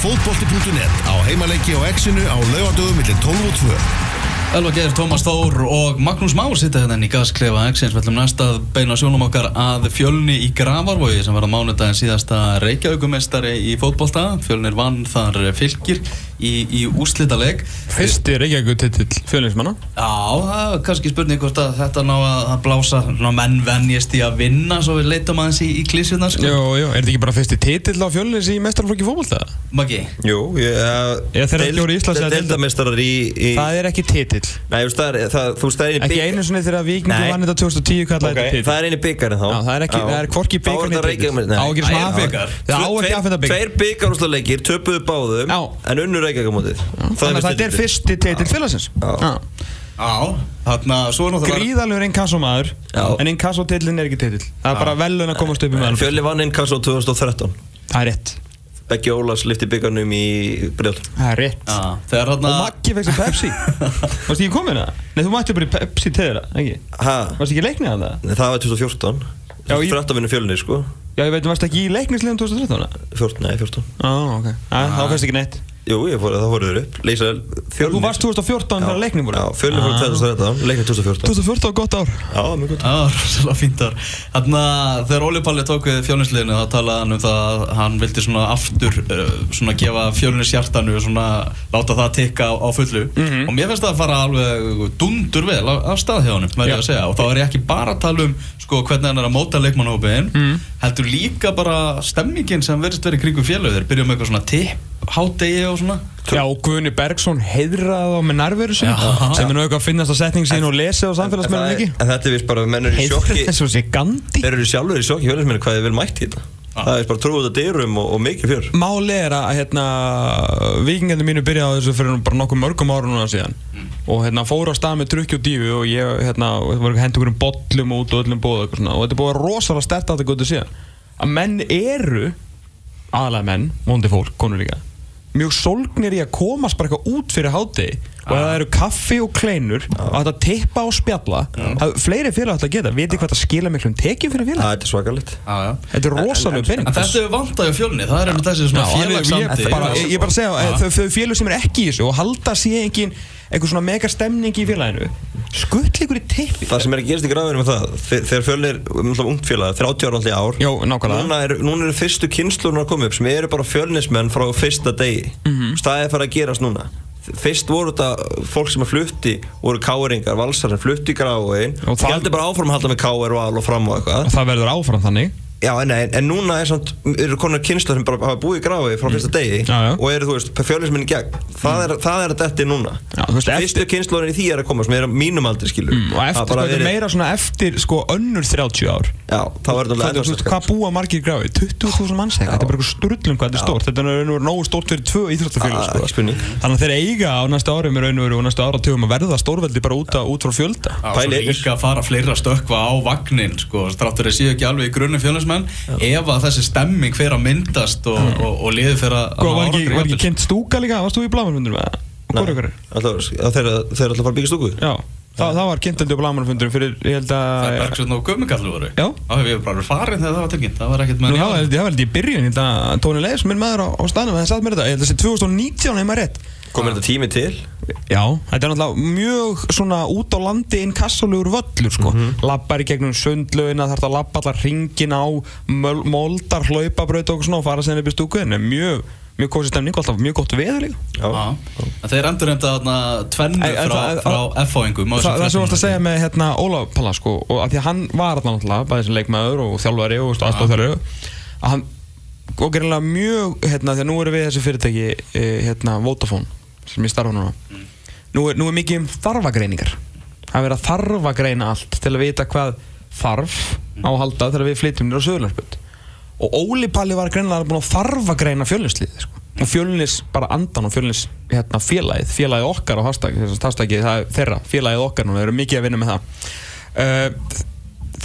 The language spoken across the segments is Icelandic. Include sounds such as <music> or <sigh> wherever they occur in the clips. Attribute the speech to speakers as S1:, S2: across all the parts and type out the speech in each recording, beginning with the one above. S1: fótbolti.net á heimaleiki og exinu á laugardögum millir 12 og 2.
S2: Elva Geir, Tómas Þór og Magnús Már sitja hérna í gasklefa Exins Við ætlum næst að beina sjónum okkar að fjölni í Gravarvogi sem var á mánudagin síðasta reykjaukumestari í fótbolta Fjölnir vann þar fylgir í, í úslitaleg
S3: Fyrsti Reykjavík titill fjölinsmanna
S2: Já, það er kannski spurning hvort að þetta ná að, að blása ná menn venjast í að vinna svo við leitum aðeins í, í klísunar sko.
S3: Jó, jó, er þetta ekki bara fyrsti titill á fjölins í mestarflokki fókbalta?
S2: Maggi,
S4: Jú, ég,
S3: Ég þeirra ekki voru í Íslands-
S4: Deildamestarar í, í
S3: Það er ekki titill
S4: Nei, þú veist, það er, það, þú veist, það er einu
S3: Ekki
S4: bygg-
S3: einu sinni þegar
S4: Nei.
S3: Vikingur vann þetta 2010 kallaði
S4: Ok,
S3: þetta titill
S4: Það er einu byggarinn þá
S3: Já, það er ekki,
S4: Já.
S3: það er hvorki
S4: Þá
S3: byggar
S4: er þetta Reykjavík
S3: Á ekki svona
S2: Æ,
S3: aðfengar
S2: byggar.
S3: Það á ekki aðfenda byggar
S4: Tveir byggarústaleikir, töpuðu báðum
S3: Já.
S4: En unnu Reykjavíkamótið
S3: Þannig að þetta er fyrsti titill Ah, fjölinsins
S2: á, þarna svo er náttúrulega
S3: Gríðalegur inkassómaður
S4: Já. Ah.
S3: En inkassótillin er ekki titill Það er bara velun að komast upp í meðan
S4: Fjölni vann innkast á 2013
S3: Það er rétt
S4: Beggi Ólafs lifti byggarnum í brjóð
S3: Það er rétt
S2: Já, þegar
S3: Og
S2: þarna
S3: Maggi fekk sér
S4: <laughs>
S3: Pepsi Varst ekki komin að? Nei, þú mætti bara í Pepsi til þeirra, ekki?
S4: Ha,
S3: Varst ekki í leiknið að það?
S4: Nei, það var 2014
S3: Já, ég-
S4: 13 vinnu fjölni, sko
S3: Já, ég veit, varst ekki í leiknisliðum 2013? eða?
S4: 14, nei, 14
S3: Á, Ah, ok. Æ, þá fyrst ekki neitt.
S4: Jú, ég fór, það fóruður upp Leysa fjölni
S3: Þú varst 2014 þegar leiknið voru. Ah.
S4: Já, fjölni fór 2013, leiknir 2014
S3: 2014 var gott ár.
S4: Já, mjög gott
S2: Já, rosalega fínt þar Þannig að þegar Óli Palli tók við fjölinsliðinu þá talaði hann um það að hann vildi svona aftur uh, svona gefa fjölins hjartanu og svona láta það tikka á, á fullu
S3: Mhm.
S2: og mér finnst það að fara alveg dundur vel af, af stað hjá hann verður
S3: Já.
S2: að segja og þá er ég ekki bara að tala um sko, hvernig hann er að móta leikmannhópiðin
S3: Mhm.
S2: heldur líka bara stemmingin sem verðist verið í kringum fjöluðir byrja með eitthvað svona tipp hádegi og svona
S3: Já, Guðni Bergson heiðraði þá með nærveru sinni,
S2: Já.
S3: sem er nú eitthvað að finnast að setning sín og lesa á samfélagsmeðlum
S4: En það
S3: ekki.
S4: er- en þetta er vist bara, menn eru í
S3: Heiðraði
S4: sjokki
S3: þessu sé gandi.
S4: Þeir eru sjálfur í sjokki fjölismenni hvað þið vel mætt í þetta Það er bara trúið að dyrum og, og mikið fjör
S3: Máli er að hérna, vikingarnir mínu byrjaði á þessu fyrir nú bara nokkuð mörgum ára núna síðan og hérna, fóru á stað með drukki og dífu og ég hérna, var hendur einhverjum bollum út og öllum bóð og, eitthvað svona. og þetta er búið rosalega stert að þetta gótið síðan að menn eru aðalega menn, vondi fólk, konur líka mjög sólgnir í að komast bara eitthvað út fyrir hátegi og ef það eru kaffi og kleinur og þetta tippa og spjalla það, fleiri félag ætla að geta, viti hvað það skila miklum tekjum fyrir
S4: Það
S3: félag,
S4: þetta er svakalegt
S2: Já, já
S3: þetta er rosalega
S2: En
S3: pening
S2: þetta er vantað hjá fjölni, það er einmitt þessi svona
S3: Já, ég,
S2: félagsamdi
S3: ég, bara, ég, ég bara segja,
S2: Já.
S3: að þau, þau félög sem er ekki í þessu og halda sé engin einhver svona mega stemning í félaginu skuttl ykkur í teppi
S4: Það sem er að gerast í grafinum er það þe- Þegar fjölnir, umhverfum ungt félag, 30 ára alltaf í ár
S3: Jó, nákvæmlega.
S4: Núna eru, núna eru fyrstu kynslunar að koma upp sem eru bara fjölnismenn frá fyrsta degi
S3: Mhm.
S4: Staðið fara að gerast núna Fyrst voru þetta fólk sem er flutti voru káringar, valsar sem flutti í gráin
S3: Og
S4: og
S3: það-
S4: gældi bara áfram að halda með káir og al og fram og eitthvað
S3: og það verður áfram þannig
S4: Já, en, en, en núna er samt, eru konar kynsla sem bara hafa búið í gráfi frá fyrsta degi
S3: Mm. Já, já.
S4: og eru, þú veist, fjölismenn í gegn það er, það er að detti núna
S3: Já, þú veist,
S4: fyrstu eftir... kynslunar í því er að koma sem er að mínum aldrei skilur
S3: og eftir sko, þetta er meira svona eftir sko önnur 30 ár
S4: Já, þá er þetta
S3: Þannig,
S4: alveg sko.
S3: þú veist, hvað búa margir gráði? 20.000 manns eitthvað, þetta er bara eitthvað sturlum hvað þetta er stórt þetta er raun og veru nógu stórt fyrir tvö íþróttafélag
S4: Ah,
S3: sko.
S4: ekki spurning.
S3: þannig að þeir eiga á næsta árum í raun og veru og næsta áratugum að verða stórveldi bara út, að, út frá fjölda
S2: Já,
S4: Pæli
S2: svo
S4: ykkur.
S2: líka að fara fleira að stökkva á vagnin sko, þráttur að séu ekki alveg í grunni fjölusmenn ef að þessi stemming fer að myndast og, og, og liði fer að
S3: Góð, Mm. Sko, var, ekki,
S2: árangri
S3: var ekki
S2: jafnvel.
S3: kynnt stúka líka? Varst þú í blámanfundunum? Og hvort ykkur?
S4: Alltaf, þeir, þeir alltaf fara að byggja stúku
S3: Já, það, það var kynntandi á blamanfundurum fyrir, ég held
S2: Það
S3: að
S2: er Bergsveitn og Guðmungallu voru
S3: Já.
S2: Þá hefur ég bara verið farinn þegar það var tilkynnt Það var ekkert með
S3: Nú, það var það var held ég í byrjun, ég held að Tóni Leifs, minn maður á, á staðnum, það satt mér þetta, ég held að þessi 2019 heima rétt
S4: komur þetta tími til
S3: Já, þetta er náttúrulega mjög svona út á landi inn kassalugur völlur sko
S2: Mhm.
S3: Lappar í gegnum sundlaugina, þarf það að lappa allar ringin á, möl- moldar, hlaupabraut og svona og fara sér upp í stúkuðin Mjög, mjög kósi stemning, og alltaf mjög gott veður líka
S4: Já.
S2: En þeir endur heimta þarna tvennu
S3: Æ, en
S2: frá,
S3: það-
S2: frá F-fáingum á
S3: Þa,
S2: þessum
S3: það sem varst að
S2: 13
S3: segja með hérna, Ólaf Palla sko, og að því að hann var alltaf náttúrulega bæðið sem leikmaður og þjálfari og aðstofþjálfari að hann og gerinlega mjög hérna, því að nú eru við þessi fyrirtæki eh, hérna, Vodafone sem ég starfa núna
S2: Mm.
S3: nú, er, nú er mikið um þarfagreiningar það er verið að þarfagreina allt til að vita hvað þarf á að halda þegar við flytjum nýra á Suðurlandsbjörn og Óli Palli var greinlega búin að þarfagreina fjölnislið sko. og fjölnis bara andan og fjölnis hérna, félagið, félagið okkar á hashtag, þess að hashtagið það er þeirra, félagið okkar núna, við erum mikið að vinna með það uh,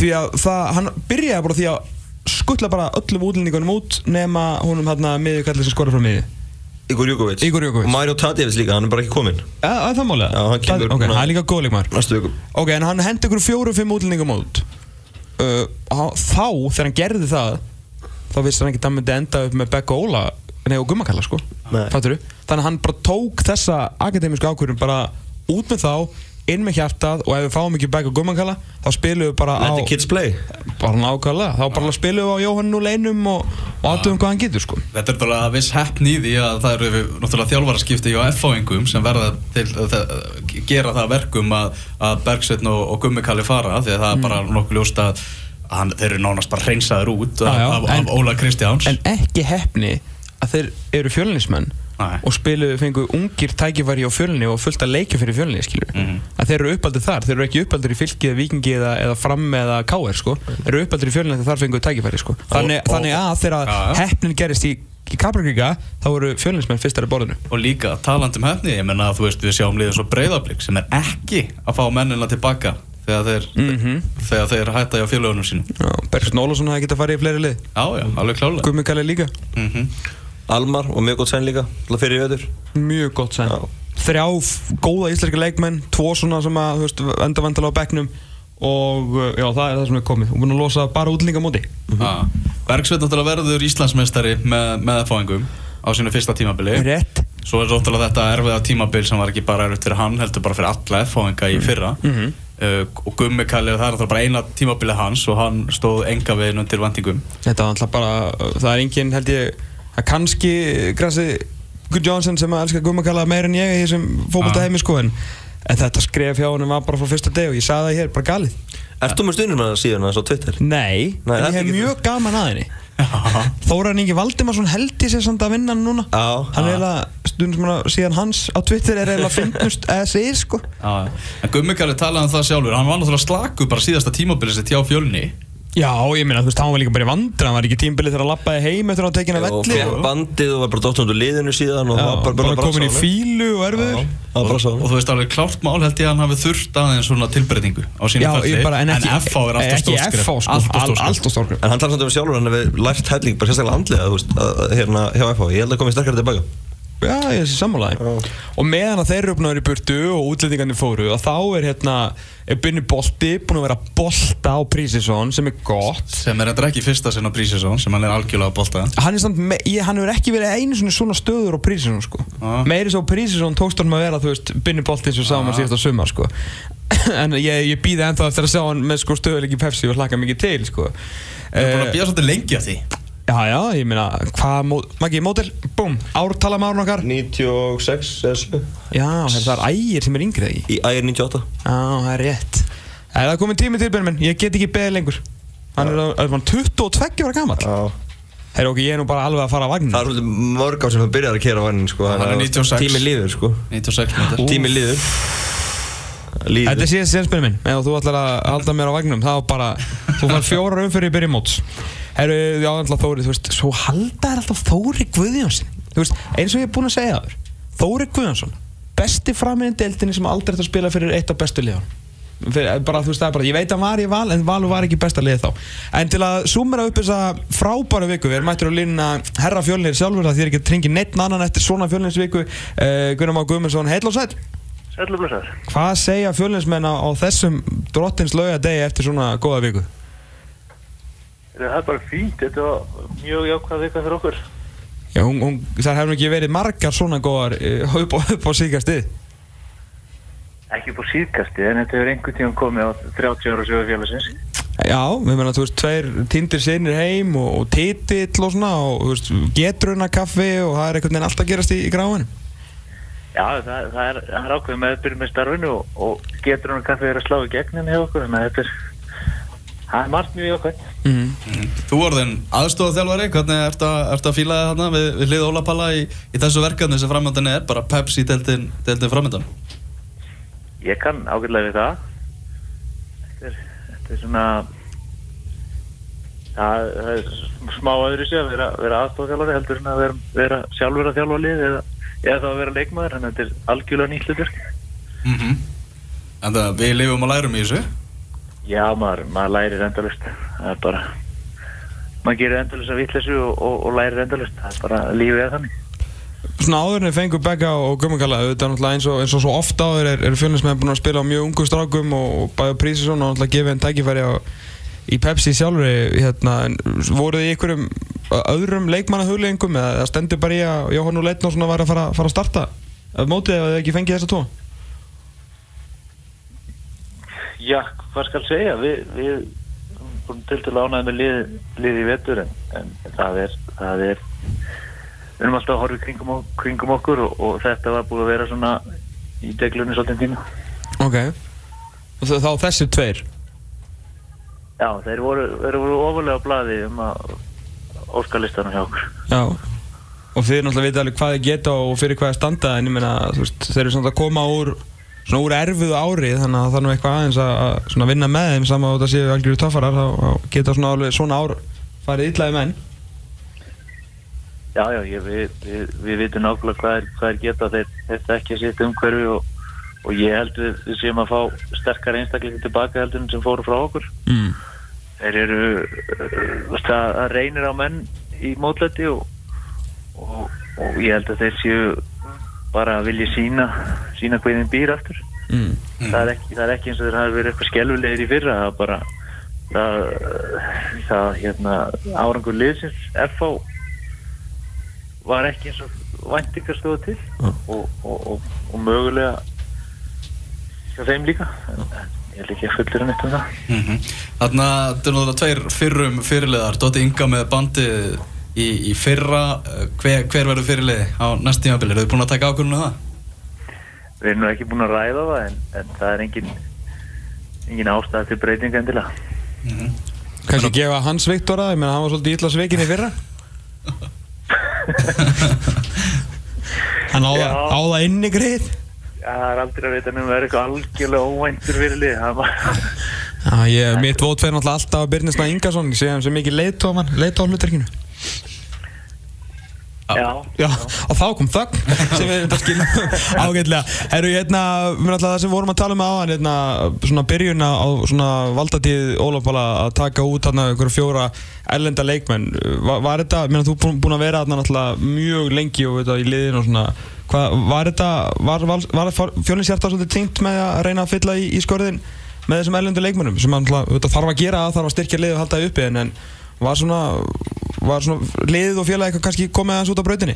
S3: því að það, hann byrjaði bara því að skuttla bara öllum útlendingunum út nema honum hérna miðjukallið sem skorur frá miðju
S4: Igor Júkovic
S3: Igor Júkovic.
S4: Mario Tadjevits líka, hann er bara ekki kominn
S3: Ja, Það er það málið
S4: Já, hann kemur
S3: Það- ok,
S4: núna.
S3: Það er líka góð leikmaður
S4: næstu viku
S3: Ok, en hann hendi ykkur fjóru-fimm útlendingum út uh, á- Þá, þegar hann gerði það Þá vissi hann ekki að hann myndi enda upp með Becca Óla nei, og gummakalla sko
S4: Nei.
S3: Fatturðu? þannig að hann bara tók þessa akademísku ákvörðum bara út með þá inn með hjartað og ef við fáum ekki back á gummakalla þá spilum við bara
S4: Let
S3: á
S4: the kids play
S3: bara nákvæmlega, þá bara spilum við á Jóhann úr leinum og, og aðtöfum hvað hann getur sko
S2: Þetta er náttúrulega viss heppn í því að það eru náttúrulega þjálfaraskipti hjá F-fáingum sem verða til að gera það að verkum að, að Bergsveitn og, og Gummi Kalli fara því að það er
S3: Mm.
S2: bara nokkuð ljóst að að hann, þeir eru nánast bara hreinsaður út af,
S3: Já, já,
S2: af,
S3: en-
S2: af Óla Kristjáns
S3: en ekki hefni að þeir eru fjölinismenn
S2: Nei.
S3: og spiluðu fengu ungir tækifæri á fjölunni og fullt að leikja fyrir fjölunni skilur
S2: Mhm.
S3: að þeir eru uppaldir þar, þeir eru ekki uppaldir í fylki eða vikingi eða, eða fram eða káer sko. þeir eru uppaldir í fjölunni þegar þar fengu tækifæri sko. þannig,
S2: og-
S3: þannig að þegar
S2: Já, já.
S3: hefnin gerist í, í Kaprikríka þá eru fjölinismenn fyrstar í borðinu
S2: og líka talandum hefni ég menna að þú veist við sjáum liðið svo breyðablík sem er ekki að fá mennina tilbaka þegar þeir,
S3: Mhm.
S2: þegar þeir hætta hjá fjölugunum sínum
S3: Bergsson Ólafsson hafði getað farið í fleiri lið
S2: Já, já, alveg klálega
S3: Gummi Kalli líka,
S2: mm
S4: Almar og mjög gott sæn líka til að fyrir í öður
S3: mjög gott sæn
S4: Já.
S3: þrjá f- góða íslenska leikmenn tvo svona sem að, þú veist, enda vandalega á bekknum og uh, já, það er það sem er komið og búin að losa bara útlingamóti
S2: Ah, Bergsveit náttúrulega verður Íslandsmeistari með, með fáingum á sínu fyrsta tímabili
S3: rétt
S2: Svo er náttúrulega þetta erfiða tímabil sem var ekki bara erfitt fyrir hann heldur bara fyrir alla fáinga
S3: Mm.
S2: í fyrra
S3: Mhm.
S2: uh, og Gummi Kalli það er náttúrulega bara eina tímabili hans og hann stóð enga veginn undir
S3: <laughs>
S2: vendingum
S3: þetta var alltaf bara, uh, það er engin held ég að kannski uh, grassi Gunn Johnson sem að elska Gummi Kalla meir en ég í þessum fókbalta heimi sko en, en þetta skref hjá honum var bara frá fyrsta deg og ég sagði það hér, bara galið
S4: Ert þú með stundum með það síðan þess á Twitter?
S3: nei,
S4: Nei,
S3: en
S4: þetta
S3: ég hef
S4: getur-
S3: mjög gaman að henni Þóran Ingi Valdimarsson held ég sér samt að vinna hann núna
S4: Já.
S3: Hann er eiginlega, stundum sem hann síðan hans á Twitter er eiginlega <laughs> finnust eða segir sko
S2: ah, En Gummi Kalli talaði um það sjálfur hann var náttúrulega slaku bara síðasta tímabili sitt hjá fjölni
S3: Já, ég meina, þú veist, hann var líka bara í vandra Hann var ekki tímbilið þegar hann lappaði heim eftir að hann tekinn að
S4: og
S3: velli
S4: fekk bandið og var bara dottundu liðinu síðan og
S3: Já,
S4: var bara,
S3: bara komin í
S4: brasa á honum.
S3: fílu og erfiður
S4: Það var
S2: og,
S4: bara svo
S2: og þú veist alveg klárt mál held ég að hann hafi þurft aðeins svona tilbreytingu á sínu
S3: Já,
S2: ferli
S3: ég bara, en ekki eh,
S2: FH er alltaf
S3: ekki
S2: stórskref
S3: FH, sko,
S2: Alltaf stórt
S3: all-
S2: skref.
S3: Alltaf stórskrif
S4: En hann talar samt um sjálfur hann hefur lært helling bara sérstaklega andlega þú veist, að, að, hérna hjá FH Ég held að komið sterkara tilbaka
S3: Já, ég sé sammálaði Og meðan að þeir eru uppnáður í burtu og útlendingarnir fóru og þá er hérna, er Binni Bolti búin að vera að bolta á Prísisson sem er gott
S2: sem er endur ekki fyrsta sinna prísesón sem hann er algjörlega að bolta
S3: hann er samt, me- ég, hann hefur ekki verið einu svona svona stöður á Prísisson sko
S2: Ah.
S3: meiri svo Prísisson tókst hann að vera þú veist binni bolti eins og sáum hann síðast á sumar sko <laughs> en ég, ég býði ennþá eftir að sjá hann með sko stöðuleik í Pepsi og hlakka mikið til sko
S2: Við erum búin
S3: uh,
S2: að býja svolítið lengi að því
S3: já já, ég meina hvað, mó- Maggi, mótil, búm, ártala maður okkar
S4: 96 eða 7
S3: já, her, það er ægir sem er yngrið í já,
S4: Í ægir 98
S3: það er rétt er það komið tími til Benjamin, ég get ekki beðið lengur hann er, er hann 22 ára gammal
S4: Já
S3: herra ok, ég er nú bara alveg að fara að vagnin
S4: Það er svolítið mörg á sem það byrjar að kera vannin sko
S2: Hann er
S4: þannig að
S2: 96.
S4: Tíminn líður sko
S2: 96 minnir
S4: Tíminn líður
S3: Þetta
S4: Líður
S3: er síðast sérspilin minn, ef þú ætlar að halda mér á vagnum þá bara, þú fær fjórar umfyrir í byrjum móts Herru, já, alltaf Þóri, þú veist, svo halda er alltaf Þóri Guðjónsson Þú veist, eins og ég er búinn að segja það Þóri Guðjónsson, besti framinn í deildinni sem aldrei ætti að spila fyrir eitt af bestu liðan fyrir, eh, bara, þú veist, það er bara, ég veit að hann var í val en Valur var ekki besta liðið þá en til að sumera upp þessa frábæra viku við erum mættir að línna herra fjölnir sjálfur það því er ekki að tringi neitt annan eftir svona fjölnirsviku uh, Gunnar Má Guðmundsson, heil og sæll
S5: Sælublusar.
S3: Hvað segja fjölinsmenn á, á þessum drottins laugadegi eftir svona góða viku?
S5: Það er bara fínt, þetta var mjög jákvæð vika fyrir okkur.
S3: Já, hún, hún, þar hefur nú ekki verið margar svona góðar uh, upp, á- upp á síkastið.
S5: Ekki búið síðkasti, en þetta hefur einhvern tíðan komið á 30 ára sögur félagsins.
S3: Já, við menna, þú veist, tveir tindir sinir heim og, og titill og svona og þú veist, getruna kaffi og það er einhvern veginn allt að gerast í, í gráinu.
S5: Já, það, það, er, það er ákveð með að byrja með starfinu og, og getur hann kaffið er að slá í gegnin hjá okkur, þannig að þetta er, það er margt mjög jákvæð.
S3: Mhm.
S2: Þú orðin aðstofað hvernig ertu að, ertu að fíla það þarna við, við hlið Óla Palla í, í þessu verkefni sem framöndan er, bara Pepsi deildin, deildin framöndan
S5: Ég kann ágætlega við það. Þetta er, þetta er svona, það, það er smá öðru sér að vera, vera aðstofþjálfari heldur en að vera, vera sjálfur að þjálfa lið eða, eða þá að vera leikmaður, þannig að þetta er algjörlega nýtt hlutverk.
S2: mm -hmm. En það, við lifum og lærum í þessu
S5: Já, maður, maður lærir endalust það er bara maður gerir endalust að vitleysu og, og, og lærir endalust það er bara lífið að þannig
S3: Svona áður en þeir fengu Begga og Gummikalla, þetta er náttúrulega eins og, eins og svo oft áður er, er fjölinsmenn búin að spila á mjög ungu strákum og, og bæða prísi svona og náttúrulega gefið henn tækifæri á, í Pepsi sjálfur hérna, en voruð þið í einhverjum ö- öðrum leikmannahugleggingum eða, eða stendur bara í að Jóhann og Leitnó svona var að fara, fara að starta af mótið ef þið ekki fengið þessa tvo
S5: Já, hvað skal segja við, við erum til til ánæði með lið, lið í vetur en, en það er það er við erum alltaf að horfa í kringum, ok- kringum okkur og, og þetta var búið að vera svona í deglunni svolítið tíma
S3: Ok Og þ- þá þessir tveir
S5: Já, þeir voru, þeir voru ofalega á blaði um að óskalistanum hjá okkur
S3: Já Og þið náttúrulega vita alveg hvað þið geta og fyrir hvað þið standa En ég meina, þú veist, þeir eru samt að koma úr Svona úr erfiðu ári Þannig að það er nú eitthvað aðeins að, að svona vinna með þeim Saman að það séu algjöru töffarar Þá þá geta svona alveg svona ár farið illaði menn
S5: Já, já, ég, við, við, við vitum nákvæmlega hvað er, hvað er geta þeir, þeir þekkja sitt umhverfi og, og ég held við, við séum að fá sterkari einstaklingi tilbaka heldur en sem fóru frá okkur.
S3: mm.
S5: Þeir eru, uh, veist, það það reynir á menn í mótleti og, og, og ég held að þeir séu bara að vilja sína, sína hvað þeim býr aftur.
S3: Mm.
S5: Það, er ekki, það er ekki eins og þeir hafi verið eitthvað skelvilegir í fyrra, það er bara, það, það hérna, árangur liðsins, FH var ekki eins og væntingar stóðu til og, og, og, og mögulega hjá þeim líka en, en ég er ekki fullur en eitt um það
S2: Þannig að Mhm. þetta er náttúrulega tveir fyrrum fyrirliðar Dóti Inga með bandi í, í fyrra Eh, hver, hver verður fyrirliði á næst tímabili? Eru þið búin að taka ákvörðunum það?
S5: við erum nú ekki búin að ræða það en, en það er engin engin ástæða til breytinga endilega
S3: Kannski gefa Hans Viktor að Ég meina, hann var svolítið illa svekin í fyrra
S2: Mhm. <laughs>
S3: Hann áða,
S5: Já.
S3: áða inni greið
S5: Já, það er aldrei að vita nema það er eitthvað algjörlega óvæntur fyrirlið það er bara
S3: Já, ég, mitt vót fer náttúrulega alltaf að Birnisna Ingarsson, ég sé hann sem mikið leiðtóman, leiðtóman hlutverkinu.
S5: Já.
S3: Já, og þá kom þögn sem við erum að skilja ágætlega. Herru, hérna, mér ætla það sem við vorum að tala um áðan, hérna, svona byrjun á svona valdatíð Ólafbala að taka út hérna ykkur fjóra erlenda leikmenn. Var, var þetta, mér að þú búin, búin að vera hérna náttúrulega mjög lengi og veit á í liðinu og svona, hvað, var þetta, var, var, var fjölins hjarta svolítið tengt með að reyna að fylla í, í skorðin með þessum erlendu leikmennum sem hann þarf að gera, þarf að styrkja liðið og halda því uppi en, en var svona, var svona liðið og félagið eitthvað kannski komið aðeins út á brautinni?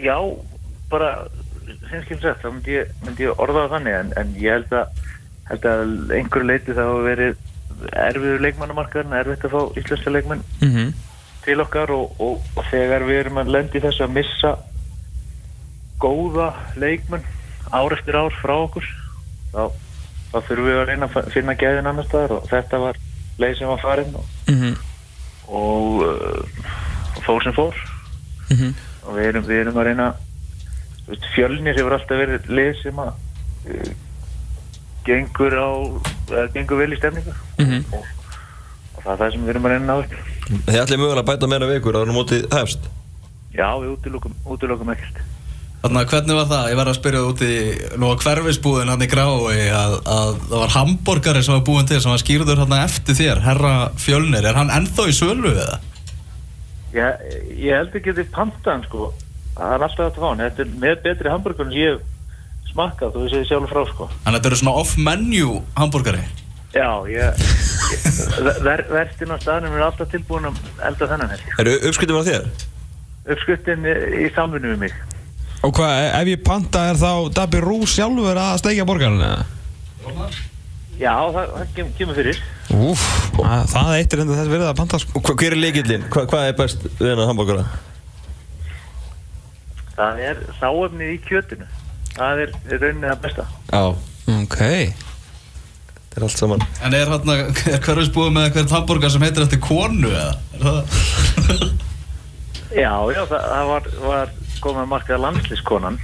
S5: Já, bara sinnskilsett, þá myndi ég, myndi ég orða það þannig en, en ég held að, held að einhverju leiti það hafa verið erfiður leikmannamarkaðin, erfitt að fá íslenska leikmann
S3: Mm -hmm.
S5: til okkar og, og, og þegar við erum að lendi þessu að missa góða leikmann ár eftir ár frá okkur þá, þá þurfum við að reyna að fa- finna gæðin annar staðar og þetta var leið sem var farinn og,
S3: Mhm.
S5: og uh, fór sem fór
S3: Mhm.
S5: og við erum, við erum að reyna þú veist, fjölnir hefur alltaf verið lið sem að uh, gengur á uh, gengur vel í stemningu og, og það er það sem við erum að reyna að ná upp
S4: Þið ætlið mögulega að bæta meira vikur á þannig mótið hefst
S5: já, við útilokum, útilokum ekkert
S2: Þannig að hvernig var það? Ég var að spyrja þú út í nú að hverfisbúðin hann í Grávei að, að það var hamborgari sem var búin til sem var skýrður hann eftir þér, herra fjölnir er hann ennþá í sölu eða?
S5: ég, ég held ekki að þið panta hann sko það er alltaf þetta fán, þetta er með betri hambúrgunum sem ég hef smakkað þú veist ég sjálf frá sko
S2: Þannig að þetta eru svona off-menu hamborgari
S5: já, ég, ég ver, verstinn á staðnum er alltaf tilbúin að elda þennan helgi.
S4: Eru uppskritum á þér?
S5: uppskuttin í samvinni við mig
S3: Og hvað, ef ég panta er þá Dabbi Rú sjálfur að steikja borgarinn eða?
S5: já, það, það kem- kemur fyrir
S3: Úf, að, það eitt er enda þess verið að panta sko.
S4: Og hva, hver er leikillin? Hva, hvað er best við hennar hambúrgara?
S5: Það er sáefnið í kjötinu Það er í rauninni það besta
S4: Já
S3: Ok,
S4: Það er allt saman
S2: En er, hann, er hverfisbúðin með hvert hamborgar sem heitir eftir konu eða? Er það?
S5: Já, já, það, það var, var komið að markað landslískonan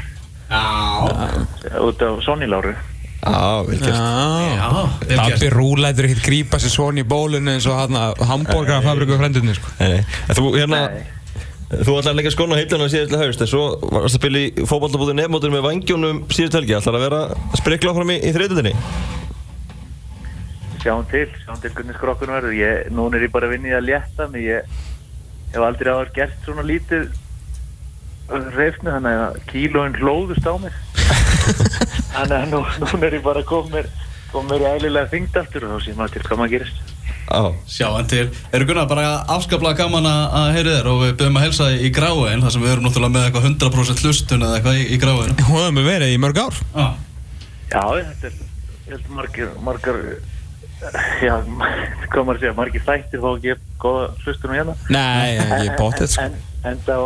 S2: Já,
S5: út af Sonny Láru
S4: Já, vel gert
S3: já
S2: <laughs> já vel gert.
S3: Dabbi Rú lætur ekkert grípa sér svona í bólunni eins og hann að hambúrgarfabriku frendunni sko.
S4: Nei, nei. En Þú hérna
S5: Nei.
S4: Þú ætlaði að leggja skona á hilluna síðastlega haust en svo varst að byrja í fótballtabúti nefnmótur með vangjónum síðast helgi ætlaði að vera að sprikla áfram í, í þreytutinni
S5: Sjáum til, sjáum til hvernig skrokkun verður ég, Núna er ég bara að vinna í að létta mig Ég hef aldrei áður gert svona lítið reifni þannig að kílóin hlóðust á mig Þannig að nú, núna er ég bara að koma mér kom mér í eðlilega þyngd aftur og þá sé maður til hvað maður gerist
S4: á
S2: Sjá, en til, eru Gunnar bara afskaplega gaman að að heyra þér og við byrjum að helsa í gráin þar sem við erum náttúrulega með eitthvað 100% hlustun eða eitthvað í, í gráin
S3: Hún hefur mér verið í mörg ár
S2: ah.
S5: Já, þetta er, ég held margir, margar, já, hvað maður að segja, margir þættir þó ekki góða hlustunum hérna.
S3: Nei, ég er bóttið sko
S5: En, en þá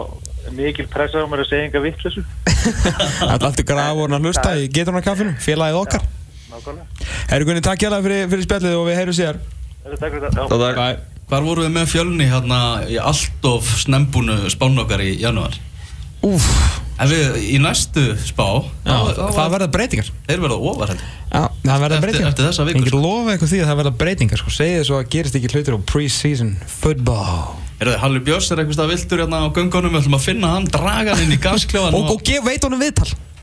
S5: mikil pressa á mér að segja enga vittlössu.
S3: Alltaf alltaf grafur að hlusta í geturna kaffinu, félagið okkar
S5: Nákvæmlega.
S3: Herru Gunni, takk hérlega fyrir, fyrir spjallið og við heyrum síðar
S5: Þetta er takk fyrir þetta. Já.
S4: Þá dag
S2: Hvar voru við með fjölni hérna í allt of snembúnu spánu okkar í janúar?
S3: Úf,
S2: En við í næstu spá
S3: já, það verða breytingar
S2: Þeir verða ofar heldur
S3: Já, það verða
S2: Eftir-
S3: breytingar
S2: eftir þessa viku,
S3: Ég
S2: sko.
S3: get lofa eitthvað því að það verða breytingar sko. Segðu svo að gerist ekki hlutir á pre-season football
S2: Eru þið <laughs> Halli Björns er eitthvað viltur hérna á göngunum Við ætlum að finna hann, draga hann inn í gaskljóðan
S3: Og, og gef, veit honum viðtal